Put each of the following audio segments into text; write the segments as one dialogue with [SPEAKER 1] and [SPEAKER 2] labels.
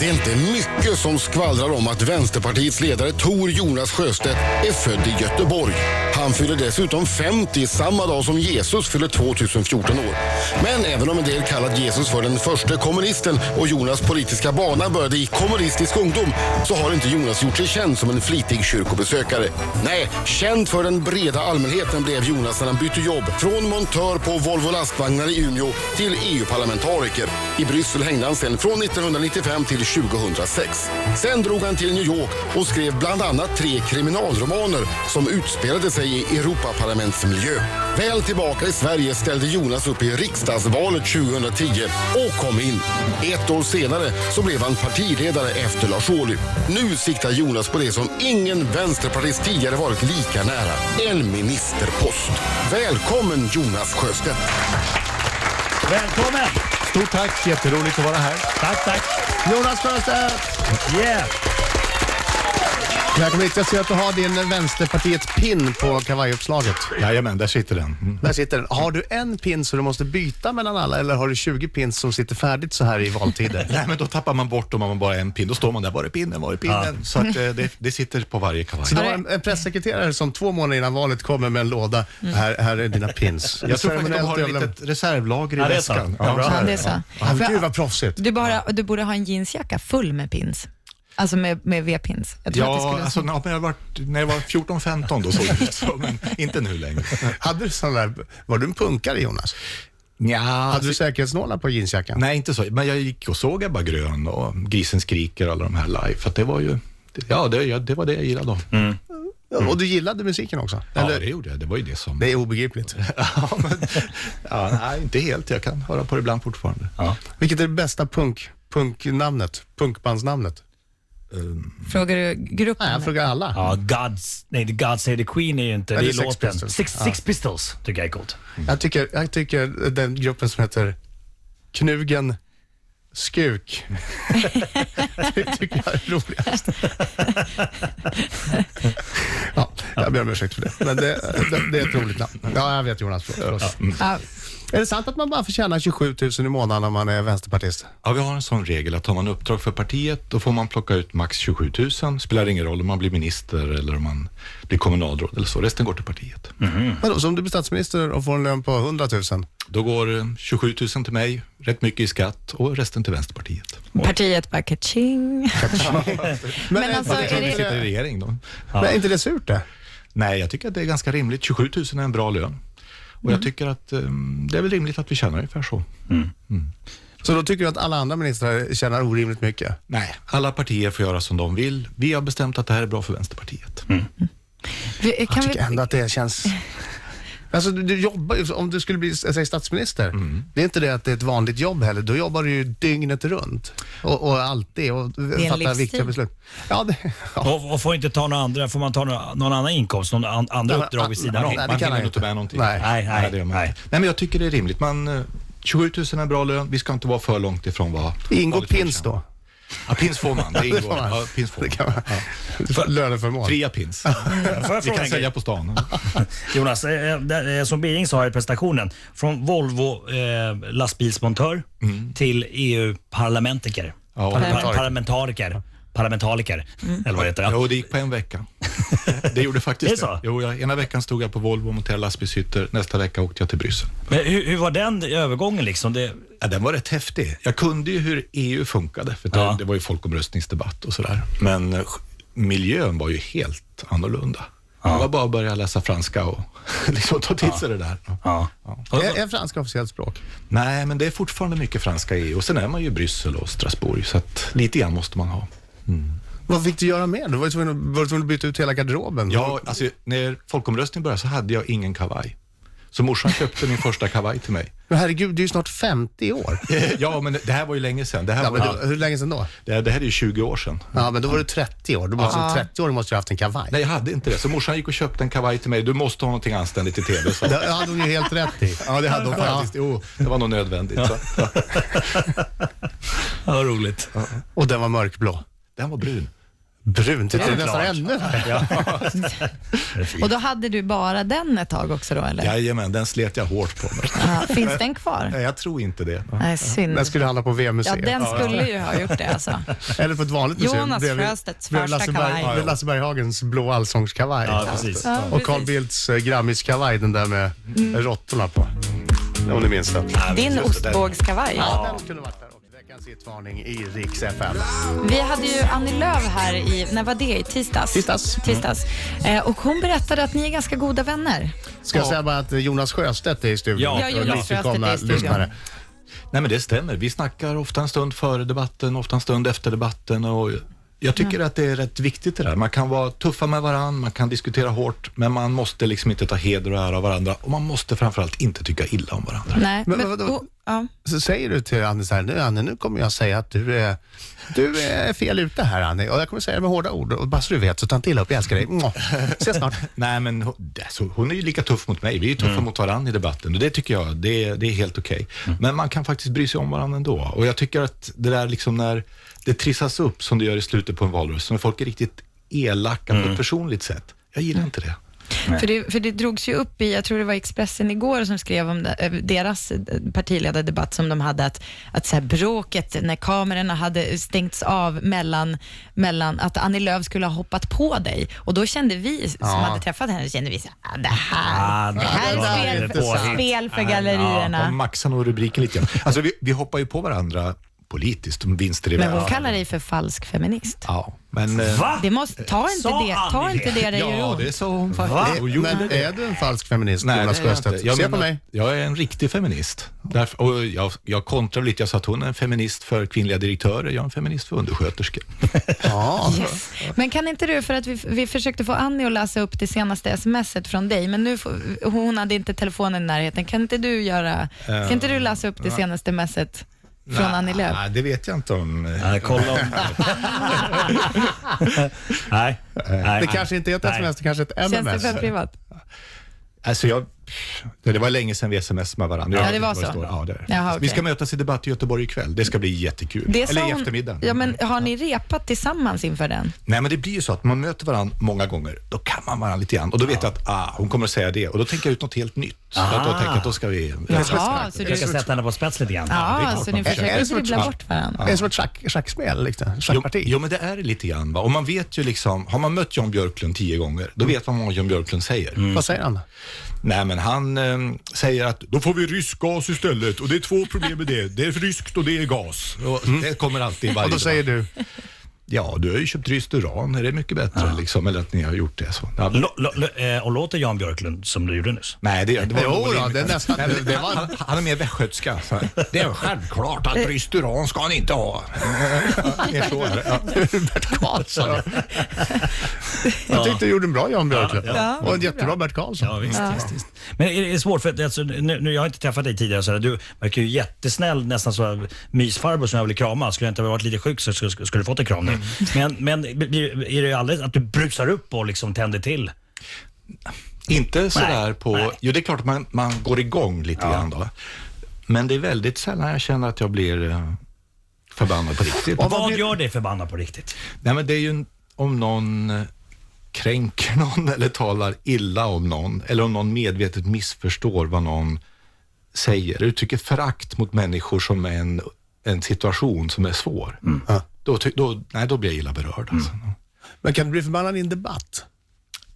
[SPEAKER 1] Det är inte mycket som skvallrar om att Vänsterpartiets ledare Tor Jonas Sjöstedt är född i Göteborg. Han fyller dessutom 50 samma dag som Jesus fyller 2014 år. Men även om en del kallat Jesus för den första kommunisten och Jonas politiska bana började i kommunistisk ungdom så har inte Jonas gjort sig känd som en flitig kyrkobesökare. Nej, känd för den breda allmänheten blev Jonas när han bytte jobb från montör på Volvo lastvagnar i Umeå till E EU-parlamentariker. I Bryssel hängde han sedan från 1995 till 2006. Sen drog han till New York och skrev bland annat tre kriminalromaner som utspelade sig i Europaparlamentsmiljö. Väl tillbaka i Sverige ställde Jonas upp i riksdagsvalet 2010 och kom in. Ett år senare så blev han partiledare efter Lars Ohly. Nu siktar Jonas på det som ingen vänsterpartist tidigare varit lika nära. En ministerpost. Välkommen Jonas Sjöstedt.
[SPEAKER 2] Välkommen!
[SPEAKER 3] Stort tack, jätteroligt att vara här.
[SPEAKER 2] Tack, tack.
[SPEAKER 3] Jonas Sjöstedt!
[SPEAKER 2] Yeah!
[SPEAKER 4] Välkommen hit. Jag ser att du har din Vänsterpartiets pin på kavajuppslaget.
[SPEAKER 3] Jajamän, där sitter den. Mm.
[SPEAKER 4] Där sitter den. Har du en pin som du måste byta mellan alla eller har du 20 pins som sitter färdigt så här i valtider?
[SPEAKER 3] Nej, men då tappar man bort om man bara har en pin. Då står man där, var är pinnen, var är pinnen? Så att, eh, det, det sitter på varje kavaj.
[SPEAKER 4] Så du har en, en pressekreterare som två månader innan valet kommer med en låda. Här, här är dina pins.
[SPEAKER 3] Jag tror faktiskt de har ett
[SPEAKER 4] Ceremoniellt
[SPEAKER 3] litet reservlager i
[SPEAKER 2] Ja, det är
[SPEAKER 3] väskan.
[SPEAKER 2] sant. Ja, bra.
[SPEAKER 3] här.
[SPEAKER 5] Ja, det är så.
[SPEAKER 4] Ja,
[SPEAKER 5] För-
[SPEAKER 4] Gud vad proffsigt.
[SPEAKER 5] Du, bara, du borde ha en jeansjacka full med pins. Alltså med, med V-pins. Jag tror att det skulle
[SPEAKER 3] Ja,
[SPEAKER 5] vara
[SPEAKER 3] alltså,
[SPEAKER 5] snyggt.
[SPEAKER 3] när jag var, när jag var 14-15 då såg det ut så, men inte nu längre.
[SPEAKER 4] Hade du sån där, var du en punkare Jonas?
[SPEAKER 3] Nja,
[SPEAKER 4] Hade
[SPEAKER 3] alltså,
[SPEAKER 4] du säkerhetsnålar på jeansjackan?
[SPEAKER 3] nej inte så. Men jag gick och såg Ebba Grön och Grisen skriker och alla de här live. För att det var ju, ja det, ja, det var det jag gillade då.
[SPEAKER 4] Och du gillade musiken också?
[SPEAKER 3] Ja,
[SPEAKER 4] Eller?
[SPEAKER 3] det gjorde jag. Det var ju det som...
[SPEAKER 4] Det är obegripligt.
[SPEAKER 3] Ja, men, ja, nej, inte helt. Jag kan höra på det ibland fortfarande.
[SPEAKER 4] Vilket är det bästa punk, punknamnet? Punkbandsnamnet?
[SPEAKER 5] Frågar du gruppen?
[SPEAKER 4] Nej, jag frågar alla.
[SPEAKER 2] Ja, God's, nej, God Save the Queen är ju inte, det
[SPEAKER 4] Eller
[SPEAKER 2] är
[SPEAKER 4] Sex
[SPEAKER 2] låten.
[SPEAKER 4] Pistols.
[SPEAKER 2] Six, six Pistols tycker jag är coolt.
[SPEAKER 4] Jag tycker, jag tycker den gruppen som heter Knugen Skuk. det tycker jag är roligast. ja, jag ber om ursäkt för det, men det, det, det är ett roligt namn. Ja, jag vet Jonas. Förlåt.
[SPEAKER 5] Ja, mm.
[SPEAKER 4] Är det sant att man bara får tjäna 27 000 i månaden om man är vänsterpartist?
[SPEAKER 3] Ja, vi har en sån regel att har man uppdrag för partiet då får man plocka ut max 27 000. Spelar ingen roll om man blir minister eller om man blir kommunalråd eller så. Resten går till partiet.
[SPEAKER 4] Vadå, så om du blir statsminister och får en lön på 100 000?
[SPEAKER 3] Då går eh, 27 000 till mig, rätt mycket i skatt och resten till Vänsterpartiet.
[SPEAKER 5] partiet bara kaching.
[SPEAKER 4] Men,
[SPEAKER 5] Men
[SPEAKER 4] är-
[SPEAKER 5] alltså,
[SPEAKER 3] Jag tror
[SPEAKER 5] är
[SPEAKER 3] vi sitter i
[SPEAKER 5] det,
[SPEAKER 3] regering då.
[SPEAKER 4] men är inte det surt det?
[SPEAKER 3] Nej, jag tycker att det är ganska rimligt. 27 000 är en bra lön. Och
[SPEAKER 5] Mm.
[SPEAKER 3] jag tycker att eh, det är väl rimligt att vi tjänar ungefär så.
[SPEAKER 4] Så då tycker du att alla andra ministrar tjänar orimligt mycket?
[SPEAKER 3] Nej, alla partier får göra som de vill. Vi har bestämt att det här är bra för Vänsterpartiet.
[SPEAKER 5] vi- kan
[SPEAKER 4] Jag tycker
[SPEAKER 5] vi,
[SPEAKER 4] ändå att det känns... Alltså du, du jobbar ju, om du skulle bli säg, statsminister, det är inte det att det är ett vanligt jobb heller. Då jobbar du ju dygnet runt och, och alltid och
[SPEAKER 5] en
[SPEAKER 4] fattar
[SPEAKER 5] livsstil.
[SPEAKER 4] viktiga beslut. Ja, det, ja.
[SPEAKER 2] Och, och får inte ta några andra, får man ta några, någon annan inkomst, någon an, andra uppdrag vid sidan om?
[SPEAKER 4] Nej, det kan
[SPEAKER 3] man hinner
[SPEAKER 4] jag
[SPEAKER 3] nog inte
[SPEAKER 4] inte.
[SPEAKER 3] med någonting.
[SPEAKER 4] Nej.
[SPEAKER 2] Nej, nej,
[SPEAKER 3] det gör man
[SPEAKER 2] nej.
[SPEAKER 3] inte. nej, men jag tycker det är rimligt. Man, eh, 27 000 är en bra lön. Vi ska inte vara för långt ifrån vad...
[SPEAKER 4] Ingår
[SPEAKER 3] vanligt folk
[SPEAKER 4] pins
[SPEAKER 3] tjänar.
[SPEAKER 4] då?
[SPEAKER 3] Ja, pins får man. Det ingår.
[SPEAKER 4] får man.
[SPEAKER 3] Ja, pins får
[SPEAKER 4] Det kan
[SPEAKER 3] man.
[SPEAKER 4] man. Löneförmån.
[SPEAKER 3] Fria pins.
[SPEAKER 2] Får jag
[SPEAKER 3] Vi
[SPEAKER 2] fråga
[SPEAKER 3] kan
[SPEAKER 2] en grej?
[SPEAKER 3] sälja på stan.
[SPEAKER 2] Jonas, eh, eh, där, eh, som Bering sa i presentationen, från Volvo eh, lastbilsmontör till EU-parlamentariker.
[SPEAKER 3] Ja,
[SPEAKER 2] parlamentariker. parlamentariker. Parlamentariker, eller vad det heter. Ja.
[SPEAKER 3] Jo, det gick på en vecka. Det gjorde faktiskt
[SPEAKER 2] Är det så?
[SPEAKER 3] Jo, jag, ena veckan stod jag på Volvo och monterade lastbilshytter. Nästa vecka åkte jag till Bryssel.
[SPEAKER 2] Men hur, hur var den övergången liksom? Det,
[SPEAKER 3] Ja, den var rätt häftig. Jag kunde ju hur EU funkade, för det,
[SPEAKER 2] Ja.
[SPEAKER 3] det var ju folkomröstningsdebatt och sådär. Men eh, miljön var ju helt annorlunda. Det var bara att börja läsa franska och liksom ta till sig det där.
[SPEAKER 2] ja.
[SPEAKER 4] Är, är franska officiellt språk?
[SPEAKER 3] Nej, men det är fortfarande mycket franska i EU. Och sen är man ju i Bryssel och Strasbourg, så att lite grann måste man ha.
[SPEAKER 4] Vad fick du göra mer? Du var ju tvungen, att- var du tvungen att byta ut hela garderoben.
[SPEAKER 3] Ja, alltså, när folkomröstningen började så hade jag ingen kavaj. Så morsan köpte min första kavaj till mig.
[SPEAKER 4] Men herregud, du är ju snart 50 år.
[SPEAKER 3] Ja, men det här var ju länge sedan. Det här,
[SPEAKER 4] Ja,
[SPEAKER 3] var,
[SPEAKER 4] men du, hur länge sedan då?
[SPEAKER 3] det här, det här är ju 20 år sedan.
[SPEAKER 4] Ja, men då var du 30 år. Du måste,
[SPEAKER 5] Ja.
[SPEAKER 4] Som 30-åring måste du ha haft en kavaj.
[SPEAKER 3] Nej, jag hade inte det. Så morsan gick och köpte en kavaj till mig. Du måste ha någonting anständigt i TV, så.
[SPEAKER 4] Det hade hon ju helt rätt i.
[SPEAKER 3] Ja, det hade de faktiskt. Jo, det var nog nödvändigt. Så.
[SPEAKER 2] Ja, vad roligt.
[SPEAKER 4] Och den var mörkblå.
[SPEAKER 3] Den var brun.
[SPEAKER 4] Brunt, det är
[SPEAKER 2] Ja,
[SPEAKER 4] nästan
[SPEAKER 2] klart.
[SPEAKER 4] ännu värre.
[SPEAKER 5] Och då hade du bara den ett tag också då eller?
[SPEAKER 3] Jajamän, den slet jag hårt på. Mig.
[SPEAKER 5] Ja, finns den kvar?
[SPEAKER 3] Nej, jag tror inte det.
[SPEAKER 5] Nej, synd.
[SPEAKER 4] Den skulle handla på
[SPEAKER 5] Ja,
[SPEAKER 4] VM-museet.
[SPEAKER 5] den skulle ju ha gjort det alltså.
[SPEAKER 4] Eller på ett vanligt museum.
[SPEAKER 5] Jonas
[SPEAKER 4] bredvid-
[SPEAKER 5] Sjöstedts
[SPEAKER 4] bredvid
[SPEAKER 5] första
[SPEAKER 4] Lasse
[SPEAKER 5] kavaj.
[SPEAKER 4] Berg- bredvid Lasse Berghagens blå allsångskavaj.
[SPEAKER 2] Ja, precis.
[SPEAKER 5] Ja,
[SPEAKER 4] Och Carl
[SPEAKER 5] precis. Mm.
[SPEAKER 4] Bildts eh, Grammiskavaj, den där med råttorna på. Om ni minns den.
[SPEAKER 5] Din ostbågskavaj.
[SPEAKER 4] Ja, den kunde varit där också. Veckans hitvarning i Riks FM.
[SPEAKER 5] Vi hade ju Annie Lööf här i, när var det? I tisdags?
[SPEAKER 4] Tisdags.
[SPEAKER 5] Tisdags. Eh, och hon berättade att ni är ganska goda vänner.
[SPEAKER 4] Ska jag säga bara att eh, Jonas Sjöstedt är i studion?
[SPEAKER 2] Ja,
[SPEAKER 5] Ja, Jonas
[SPEAKER 4] Och
[SPEAKER 5] Sjöstedt är i
[SPEAKER 4] nytillkomna
[SPEAKER 5] studion.
[SPEAKER 4] lyssnare.
[SPEAKER 3] Nej, men det stämmer. Vi snackar ofta en stund före debatten, ofta en stund efter debatten. Och jag tycker att det är rätt viktigt det där. Man kan vara tuffa med varandra, man kan diskutera hårt, men man måste liksom inte ta heder och ära av varandra. Och man måste framförallt inte tycka illa om varandra.
[SPEAKER 5] Nej,
[SPEAKER 4] Men vadå?
[SPEAKER 5] och- ja.
[SPEAKER 4] Så säger du till Annie så här, nu Annie, nu kommer jag säga att du är, du är fel ute här Annie. Och jag kommer säga det med hårda ord. Och bara så du vet, så ta inte illa upp, jag älskar dig. Mwah. Ses snart.
[SPEAKER 3] Nej, men hon, det- så hon är ju lika tuff mot mig. Vi är ju tuffa mot varandra i debatten och det tycker jag, det, är- det är helt okej. Men man kan faktiskt bry sig om varandra ändå. Och jag tycker att det där liksom när det trissas upp som det gör i slutet på en valrörelse, när folk är riktigt elaka på ett personligt sätt. Jag gillar inte det.
[SPEAKER 5] För det, för det drogs ju upp i, jag tror det var Expressen igår som skrev om det, eh, deras eh, partiledardebatt som de hade, att, att så här bråket när kamerorna hade stängts av mellan, mellan att Annie Lööf skulle ha hoppat på dig. Och då kände vi som hade träffat henne, kände vi så här, ah, det här,
[SPEAKER 2] Ah,
[SPEAKER 5] det här
[SPEAKER 2] det var
[SPEAKER 5] är spel,
[SPEAKER 2] lite påhitt.
[SPEAKER 5] spel för
[SPEAKER 3] Ja,
[SPEAKER 5] gallerierna.
[SPEAKER 3] maxa nog rubriken lite grann. Alltså, vi, vi hoppar ju på varandra politiskt, om vinster i
[SPEAKER 5] Men hon
[SPEAKER 3] världen.
[SPEAKER 5] kallar dig för falsk feminist.
[SPEAKER 3] Ja, men... eh,
[SPEAKER 2] Va?
[SPEAKER 5] Det måste, ta inte
[SPEAKER 2] Sa
[SPEAKER 5] det, ta
[SPEAKER 2] Annie
[SPEAKER 5] inte det dig ur
[SPEAKER 3] Ja,
[SPEAKER 5] ord.
[SPEAKER 3] det sa hon faktiskt. Hon gjorde
[SPEAKER 4] Men
[SPEAKER 3] det.
[SPEAKER 4] är du en falsk feminist,
[SPEAKER 3] Nej,
[SPEAKER 4] Jonas
[SPEAKER 3] det är jag,
[SPEAKER 4] Sjöstedt?
[SPEAKER 3] inte. jag,
[SPEAKER 4] Se på
[SPEAKER 3] menar,
[SPEAKER 4] mig.
[SPEAKER 3] att jag är en riktig feminist. Därför, och jag, jag kontrar lite, jag sa att hon är en feminist för kvinnliga direktörer, jag är en feminist för undersköterskor.
[SPEAKER 4] Ja.
[SPEAKER 5] Yes. Men kan inte du, för att vi, vi försökte få Annie att läsa upp det senaste smset från dig, men nu får, hon hade inte telefonen i närheten. Kan inte du göra, kan inte du läsa upp det senaste smset från Annie Lööf?
[SPEAKER 3] Nej, det vet jag inte om.
[SPEAKER 2] Nej, kolla om... nej, nej.
[SPEAKER 4] Det kanske inte är ett
[SPEAKER 2] Nej.
[SPEAKER 4] sms, det kanske är ett
[SPEAKER 5] Känns det
[SPEAKER 4] MMS.
[SPEAKER 5] för privat?
[SPEAKER 3] Alltså jag, det var länge sedan vi sms med varandra. Jag
[SPEAKER 5] Ja, det
[SPEAKER 3] vet
[SPEAKER 5] var
[SPEAKER 3] inte vad
[SPEAKER 5] så.
[SPEAKER 3] står. Ja, det är. det.
[SPEAKER 5] Jaha,
[SPEAKER 3] Vi
[SPEAKER 5] okej.
[SPEAKER 3] ska mötas i debatt i Göteborg ikväll. Det ska bli jättekul.
[SPEAKER 5] Det sa
[SPEAKER 3] Eller i
[SPEAKER 5] hon-
[SPEAKER 3] eftermiddag.
[SPEAKER 5] Ja, men har ni repat tillsammans inför den?
[SPEAKER 3] Nej, men det blir ju så att man möter varandra många gånger. Då kan man varandra lite grann. Och då vet jag att ah, hon kommer att säga det. Och då tänker jag ut något helt nytt. Så att
[SPEAKER 5] Ah.
[SPEAKER 3] då tänker jag att då ska vi...
[SPEAKER 5] Jaha, så
[SPEAKER 2] Försöka
[SPEAKER 5] du,
[SPEAKER 2] sätta henne på spets lite grann.
[SPEAKER 5] ja,
[SPEAKER 3] klart
[SPEAKER 5] så
[SPEAKER 3] man
[SPEAKER 5] ni
[SPEAKER 3] försöker.
[SPEAKER 4] Är
[SPEAKER 5] försöker
[SPEAKER 4] det så-
[SPEAKER 5] dribbla
[SPEAKER 4] Ja.
[SPEAKER 5] bort varandra?
[SPEAKER 4] Det är som ett schack, schackspel, liksom.
[SPEAKER 3] Jo,
[SPEAKER 4] schackparti.
[SPEAKER 3] jo, men det är lite grann. Va? Och man vet ju liksom, har man mött Jan Björklund tio gånger, då vet man vad Jan Björklund säger.
[SPEAKER 4] Vad säger han?
[SPEAKER 3] Nej, men han eh, säger att då får vi rysk gas istället och det är två problem med det. Det är ryskt och det är gas. Och Det kommer alltid i varje
[SPEAKER 4] Och då
[SPEAKER 3] debatt.
[SPEAKER 4] säger du?
[SPEAKER 3] Ja, du har ju köpt ryskt uran, är det mycket bättre liksom? Eller att ni har gjort det så. Ja.
[SPEAKER 2] Lo- lo- lo- eh, Och låter Jan Björklund som du gjorde nyss?
[SPEAKER 3] Nej, det, det var
[SPEAKER 4] Jo
[SPEAKER 3] nog
[SPEAKER 4] då,
[SPEAKER 3] rimligt.
[SPEAKER 4] det är nästan-
[SPEAKER 3] Nej, men
[SPEAKER 4] det var-
[SPEAKER 3] han, han är mer västgötska. så här. Det är självklart att ryskt uran ska ni inte ha. Det är så, är det. ja.
[SPEAKER 4] Bert Karlsson. Jag tyckte du gjorde en bra Jan Björklund. och en jättebra Bert Karlsson.
[SPEAKER 2] Ja, visst, visst, visst. Men är det svårt? För att, alltså, nu, nu, jag har inte träffat dig tidigare, så här, du verkar ju jättesnäll, nästan så mysfarbror som jag vill krama. Skulle jag inte ha varit lite sjuk så skulle, skulle du fått en kram nu. Men, men blir- är det aldrig att du brusar upp och liksom tänder till?
[SPEAKER 3] Inte sådär
[SPEAKER 2] Nej,
[SPEAKER 3] på...
[SPEAKER 2] nej.
[SPEAKER 3] Jo, det är klart att man, man går igång lite grann då. Men det är väldigt sällan jag känner att jag blir eh, förbannad på riktigt.
[SPEAKER 4] Om-
[SPEAKER 2] Vad
[SPEAKER 4] blir-
[SPEAKER 2] gör dig förbannad på riktigt?
[SPEAKER 3] Nej, men det är ju en- om någon eh, kränker någon eller talar illa om någon eller om någon medvetet missförstår vad någon säger, uttrycker förakt mot människor som är en, en situation som är svår.
[SPEAKER 4] Mm.
[SPEAKER 3] Då, ty- då, nej, då blir jag illa berörd. Alltså.
[SPEAKER 4] Men kan du bli förbannad i en debatt?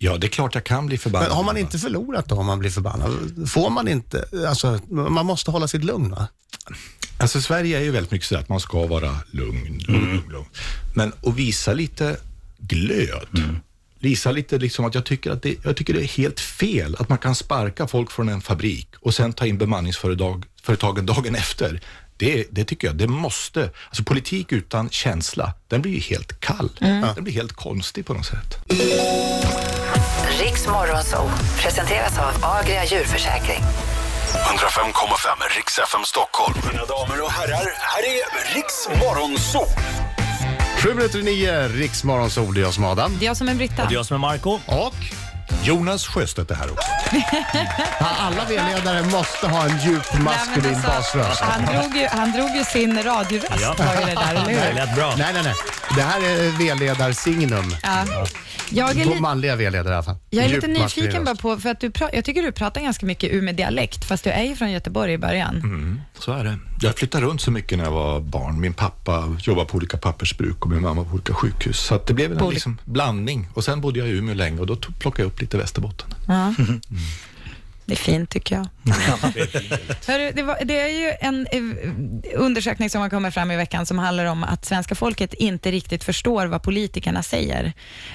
[SPEAKER 3] Ja, det är klart jag kan bli förbannad.
[SPEAKER 4] Men har man inte förlorat då om man blir förbannad? Får man inte? Alltså, man måste hålla sitt lugn va?
[SPEAKER 3] Alltså Sverige är ju väldigt mycket så att man ska vara lugn, lugn, lugn. Men att visa lite glöd. Visa lite liksom att jag tycker att det, jag tycker det är helt fel att man kan sparka folk från en fabrik och sen ta in bemanningsföretag företagen dagen efter. Det, det tycker jag, det måste. Alltså politik utan känsla, den blir ju helt kall. Den blir helt konstig på något sätt.
[SPEAKER 6] Riks Morgonzoo presenteras av Agria djurförsäkring.
[SPEAKER 7] 105,5 Riks FM Stockholm. Mina damer och herrar, här är Riks Morgonzoo.
[SPEAKER 4] Sju minuter i nio, Riksmorgonsol, det är jag som är Adam.
[SPEAKER 5] Det är jag som är britta.
[SPEAKER 2] Det är jag som är Marco
[SPEAKER 4] Och
[SPEAKER 3] Jonas Sjöstedt är här också.
[SPEAKER 4] Ja, Alla V-ledare måste ha en djup maskulin
[SPEAKER 5] Nej, men alltså,
[SPEAKER 4] basröst.
[SPEAKER 5] Han drog ju, han drog ju sin radioröst,
[SPEAKER 2] Ja.
[SPEAKER 5] var ju det där, eller
[SPEAKER 2] Det
[SPEAKER 5] hur?
[SPEAKER 2] lät bra.
[SPEAKER 4] Nej, nej, nej. Det här är V-ledarsignum.
[SPEAKER 5] Ja. Jag är,
[SPEAKER 4] På
[SPEAKER 5] li-
[SPEAKER 4] manliga V-ledare i alla fall.
[SPEAKER 5] jag är
[SPEAKER 4] Djup
[SPEAKER 5] lite
[SPEAKER 4] maskulin
[SPEAKER 5] nyfiken bara
[SPEAKER 4] röst.
[SPEAKER 5] på, för att du pra- jag tycker du pratar ganska mycket ur med dialekt, fast du är ju från Göteborg i början.
[SPEAKER 3] Så är det. Jag flyttade runt så mycket när jag var barn. Min pappa jobbade på olika pappersbruk och min mamma på olika sjukhus. Så att det blev
[SPEAKER 5] På
[SPEAKER 3] en
[SPEAKER 5] olika-
[SPEAKER 3] liksom blandning. Och sen bodde jag i Umeå länge och då tog- plockade jag upp lite Västerbotten.
[SPEAKER 5] Det är fint tycker jag. Hörru, det, var, det är ju en eh, undersökning som har kommit fram i veckan som handlar om att svenska folket inte riktigt förstår vad politikerna säger.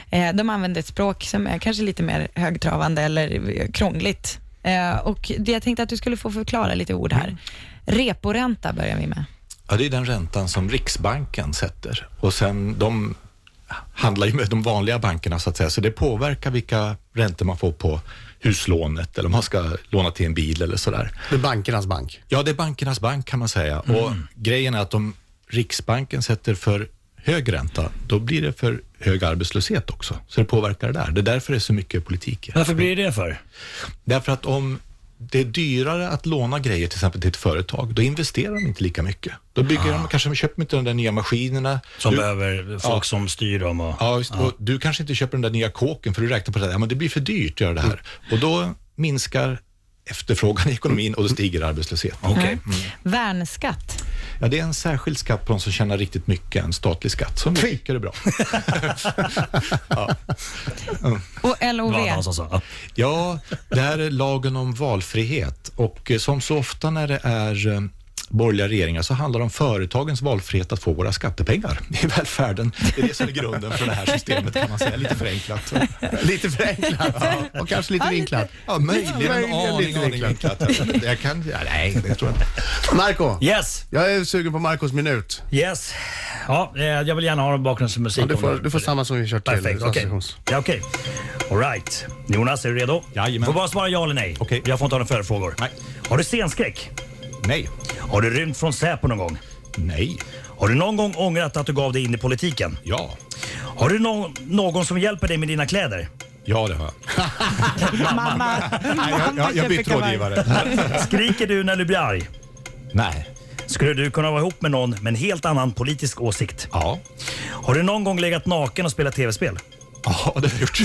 [SPEAKER 5] Eh, de använder ett språk som är kanske lite mer högtravande eller eh, krångligt. Eh, och det, jag tänkte att du skulle få förklara lite ord här. Reporänta börjar vi med.
[SPEAKER 3] Ja, det är den räntan som Riksbanken sätter. Och sen de handlar ju med de vanliga bankerna så att säga, så det påverkar vilka räntor man får på huslånet eller om man ska låna till en bil eller sådär.
[SPEAKER 4] Det är bankernas bank.
[SPEAKER 3] Ja, det är bankernas bank kan man säga. Och grejen är att om Riksbanken sätter för hög ränta, då blir det för hög arbetslöshet också. Så det påverkar det där. Det är därför det är så mycket politik. i det.
[SPEAKER 2] Varför blir det för?
[SPEAKER 3] Därför att om det är dyrare att låna grejer till exempel till ett företag, då investerar de inte lika mycket. Då bygger de, kanske de köper inte de där nya maskinerna.
[SPEAKER 2] Som
[SPEAKER 3] Du-
[SPEAKER 2] behöver folk
[SPEAKER 3] Ja.
[SPEAKER 2] som styr dem och...
[SPEAKER 3] Ja, just, Och du kanske inte köper den där nya kåken för du räknar på det här, ja, men det blir för dyrt att göra det här. Och då minskar efterfrågan i ekonomin och då stiger arbetslösheten.
[SPEAKER 2] Okej.
[SPEAKER 5] Värnskatt.
[SPEAKER 3] Ja, det är en särskild skatt på de som tjänar riktigt mycket, en statlig skatt. Som jag tycker är bra.
[SPEAKER 5] Och LOV.
[SPEAKER 2] Det var någon som sa. Ja.
[SPEAKER 3] Ja, det här är lagen om valfrihet och eh, som så ofta när det är eh, borgerliga regeringar så handlar det om företagens valfrihet att få våra skattepengar i välfärden. Det är det som är grunden för det här systemet kan man säga, lite förenklat.
[SPEAKER 4] Lite förenklat och kanske lite vinklat.
[SPEAKER 3] Ja, möjligen en
[SPEAKER 4] Möjligen
[SPEAKER 3] aning,
[SPEAKER 4] lite
[SPEAKER 3] aning vinklat. Jag kan, ja, nej, det tror jag inte.
[SPEAKER 4] Marco,
[SPEAKER 2] Yes,
[SPEAKER 4] jag är sugen på Marcos minut.
[SPEAKER 2] yes. Ja, eh, jag vill gärna ha en bakgrundsmusik.
[SPEAKER 4] Ja, du,
[SPEAKER 2] om
[SPEAKER 4] får,
[SPEAKER 2] det-
[SPEAKER 4] du får samma som vi kört till.
[SPEAKER 2] Perfekt, okej.
[SPEAKER 4] associations.
[SPEAKER 2] Ja, okej. All right. Jonas, är du redo?
[SPEAKER 3] Jajamän.
[SPEAKER 2] Får bara svara ja eller nej.
[SPEAKER 3] Okej.
[SPEAKER 2] Jag får inte ha några följdfrågor.
[SPEAKER 3] Nej.
[SPEAKER 2] Har du scenskräck?
[SPEAKER 3] Nej,
[SPEAKER 2] Har du rymt från Säpo någon gång?
[SPEAKER 3] nej,
[SPEAKER 2] Har du någon gång ångrat att du gav dig in i politiken?
[SPEAKER 3] ja,
[SPEAKER 2] Har du nå- någon som hjälper dig med dina kläder?
[SPEAKER 3] ja det har jag.
[SPEAKER 5] Mamma.
[SPEAKER 3] Nej, jag, jag, jag bytte rådgivare.
[SPEAKER 2] Skriker du när du blir arg?
[SPEAKER 3] Nej,
[SPEAKER 2] Skulle du kunna vara ihop med någon med en helt annan politisk åsikt?
[SPEAKER 3] ja,
[SPEAKER 2] Har du någon gång legat naken och spelat tv-spel?
[SPEAKER 3] ja det har jag gjort.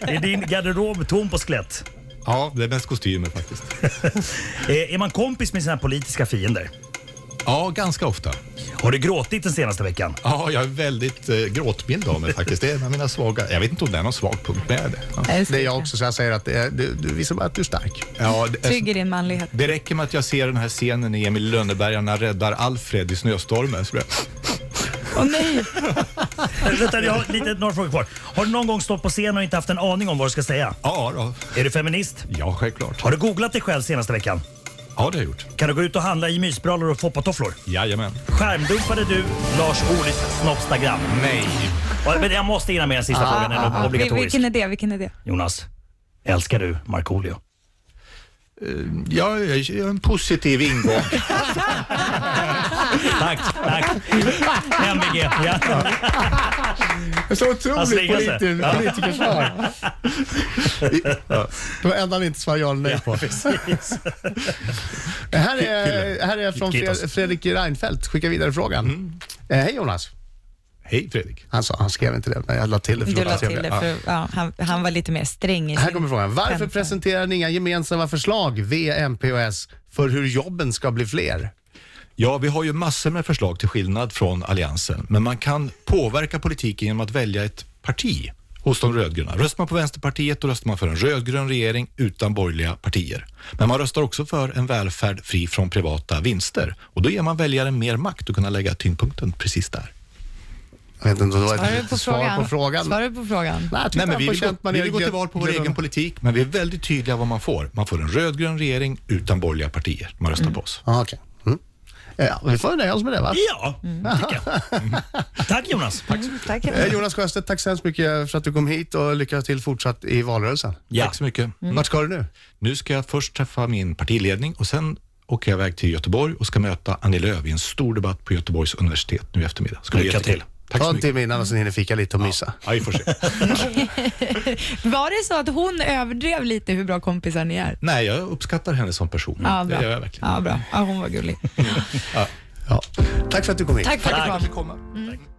[SPEAKER 2] Är din garderob tom på skelett?
[SPEAKER 3] Ja, det är mest kostymer faktiskt.
[SPEAKER 2] Eh, Är man kompis med sina politiska fiender?
[SPEAKER 3] Ja, ganska ofta.
[SPEAKER 2] Har du gråtit den senaste veckan?
[SPEAKER 3] Ja, jag är väldigt eh, gråtmild av mig faktiskt. Det är en av mina svaga. Jag vet inte om det är någon svag punkt, men jag är det. Ja.
[SPEAKER 4] Det är jag också, så jag säger att det är, du, du visar bara att du är stark.
[SPEAKER 3] Ja, det, är-
[SPEAKER 5] Trygg i din manlighet.
[SPEAKER 3] det räcker med att jag ser den här scenen i Emil i Lönneberga när han räddar Alfred i snöstormen. Så blir jag-
[SPEAKER 5] Åh nej.
[SPEAKER 2] Vänta, jag har lite, några frågor kvar. Har du någon gång stått på scen och inte haft en aning om vad du ska säga?
[SPEAKER 3] Ja, då.
[SPEAKER 2] Är du feminist?
[SPEAKER 3] ja, självklart.
[SPEAKER 2] Har du googlat dig själv senaste veckan?
[SPEAKER 3] Ja, det har jag gjort.
[SPEAKER 2] Kan du gå ut och handla i mysbrallor och foppatofflor?
[SPEAKER 3] Jajamän.
[SPEAKER 2] Skärmdumpade du Lars Ohlys snoppstagram?
[SPEAKER 3] Nej.
[SPEAKER 2] Ja, Men jag måste hinna med den sista frågan, den är
[SPEAKER 5] Vil-
[SPEAKER 2] obligatorisk.
[SPEAKER 5] Ah, Vilken är det? Vilken är det?
[SPEAKER 2] Jonas, älskar du Markoolio?
[SPEAKER 3] Ja, jag jag har en positiv ingång.
[SPEAKER 2] Tack, tack. MVG. Ja.
[SPEAKER 4] Så
[SPEAKER 2] Han
[SPEAKER 4] otroligt
[SPEAKER 2] slingar sig.
[SPEAKER 4] politi- politikersvar. Det var enda han inte svarade ja eller nej på.
[SPEAKER 2] Precis.
[SPEAKER 4] Det Här är, här är från
[SPEAKER 2] Kittas.
[SPEAKER 4] Fre- Fredrik Reinfeldt. Skicka vidare frågan.
[SPEAKER 3] Mm.
[SPEAKER 4] Eh, hej Jonas.
[SPEAKER 3] Hej Fredrik.
[SPEAKER 4] Han, sa, han skrev inte det, men jag la till det. för
[SPEAKER 5] Du
[SPEAKER 4] att
[SPEAKER 5] la
[SPEAKER 4] vara
[SPEAKER 5] till
[SPEAKER 4] trevlig.
[SPEAKER 5] det, för ja, han, han var lite mer sträng i
[SPEAKER 4] Här
[SPEAKER 5] sin-
[SPEAKER 4] kommer frågan. Varför
[SPEAKER 5] Skämt.
[SPEAKER 4] presenterar ni inga gemensamma förslag, V, MP och S, för hur jobben ska bli fler?
[SPEAKER 3] Ja, vi har ju massor med förslag till skillnad från Alliansen, men man kan påverka politiken genom att välja ett parti hos de rödgröna. Röstar man på Vänsterpartiet, då röstar man för en rödgrön regering utan borgerliga partier. Men man röstar också för en välfärd fri från privata vinster och då ger man väljaren mer makt att kunna lägga tyngdpunkten precis där.
[SPEAKER 4] Jag vet inte, det var ett
[SPEAKER 5] Svarar du
[SPEAKER 4] litet
[SPEAKER 5] på
[SPEAKER 4] svar
[SPEAKER 5] frågan?
[SPEAKER 4] på frågan.
[SPEAKER 5] Svarar du på frågan?
[SPEAKER 4] Nej, jag tyckte
[SPEAKER 3] Nej, men
[SPEAKER 4] han
[SPEAKER 3] vi,
[SPEAKER 4] får
[SPEAKER 3] vill gå,
[SPEAKER 4] känt man
[SPEAKER 3] vi
[SPEAKER 4] är
[SPEAKER 3] vill gå till val på vår
[SPEAKER 4] glömda.
[SPEAKER 3] egen politik, men vi är väldigt tydliga vad man får. Man får en rödgrön regering utan borgerliga partier. Man röstar på oss.
[SPEAKER 4] Ja, okej. Mm. Ja, vi får nöja oss med det va?
[SPEAKER 2] Ja, tycker jag. Tack Jonas.
[SPEAKER 5] Mm, Tack.
[SPEAKER 4] Eh, Jonas Sjöstedt, tack så hemskt mycket för att du kom hit och lycka till fortsatt i valrörelsen.
[SPEAKER 2] Ja.
[SPEAKER 3] Tack så mycket.
[SPEAKER 4] Vart ska du nu?
[SPEAKER 3] Mm. Nu ska jag först träffa min partiledning och sen åker jag iväg till Göteborg och ska möta Annie Lööf i en stor debatt på Göteborgs universitet nu i eftermiddag. Ska bli
[SPEAKER 2] Lycka
[SPEAKER 3] jättekul.
[SPEAKER 2] till.
[SPEAKER 3] Tack
[SPEAKER 4] Ta
[SPEAKER 3] så
[SPEAKER 4] en
[SPEAKER 3] mycket.
[SPEAKER 4] timme innan och sen hinner fika lite och mysa.
[SPEAKER 3] Ja, vi får se.
[SPEAKER 5] Var det så att hon överdrev lite hur bra kompisar ni är?
[SPEAKER 3] Nej, jag uppskattar henne som person.
[SPEAKER 5] Ja,
[SPEAKER 3] det
[SPEAKER 5] bra.
[SPEAKER 3] gör jag verkligen.
[SPEAKER 5] Ja, bra. Ja, hon var gullig.
[SPEAKER 4] Ja. Tack för att du kom hit.
[SPEAKER 5] Tack för att du kom.
[SPEAKER 3] Välkommen.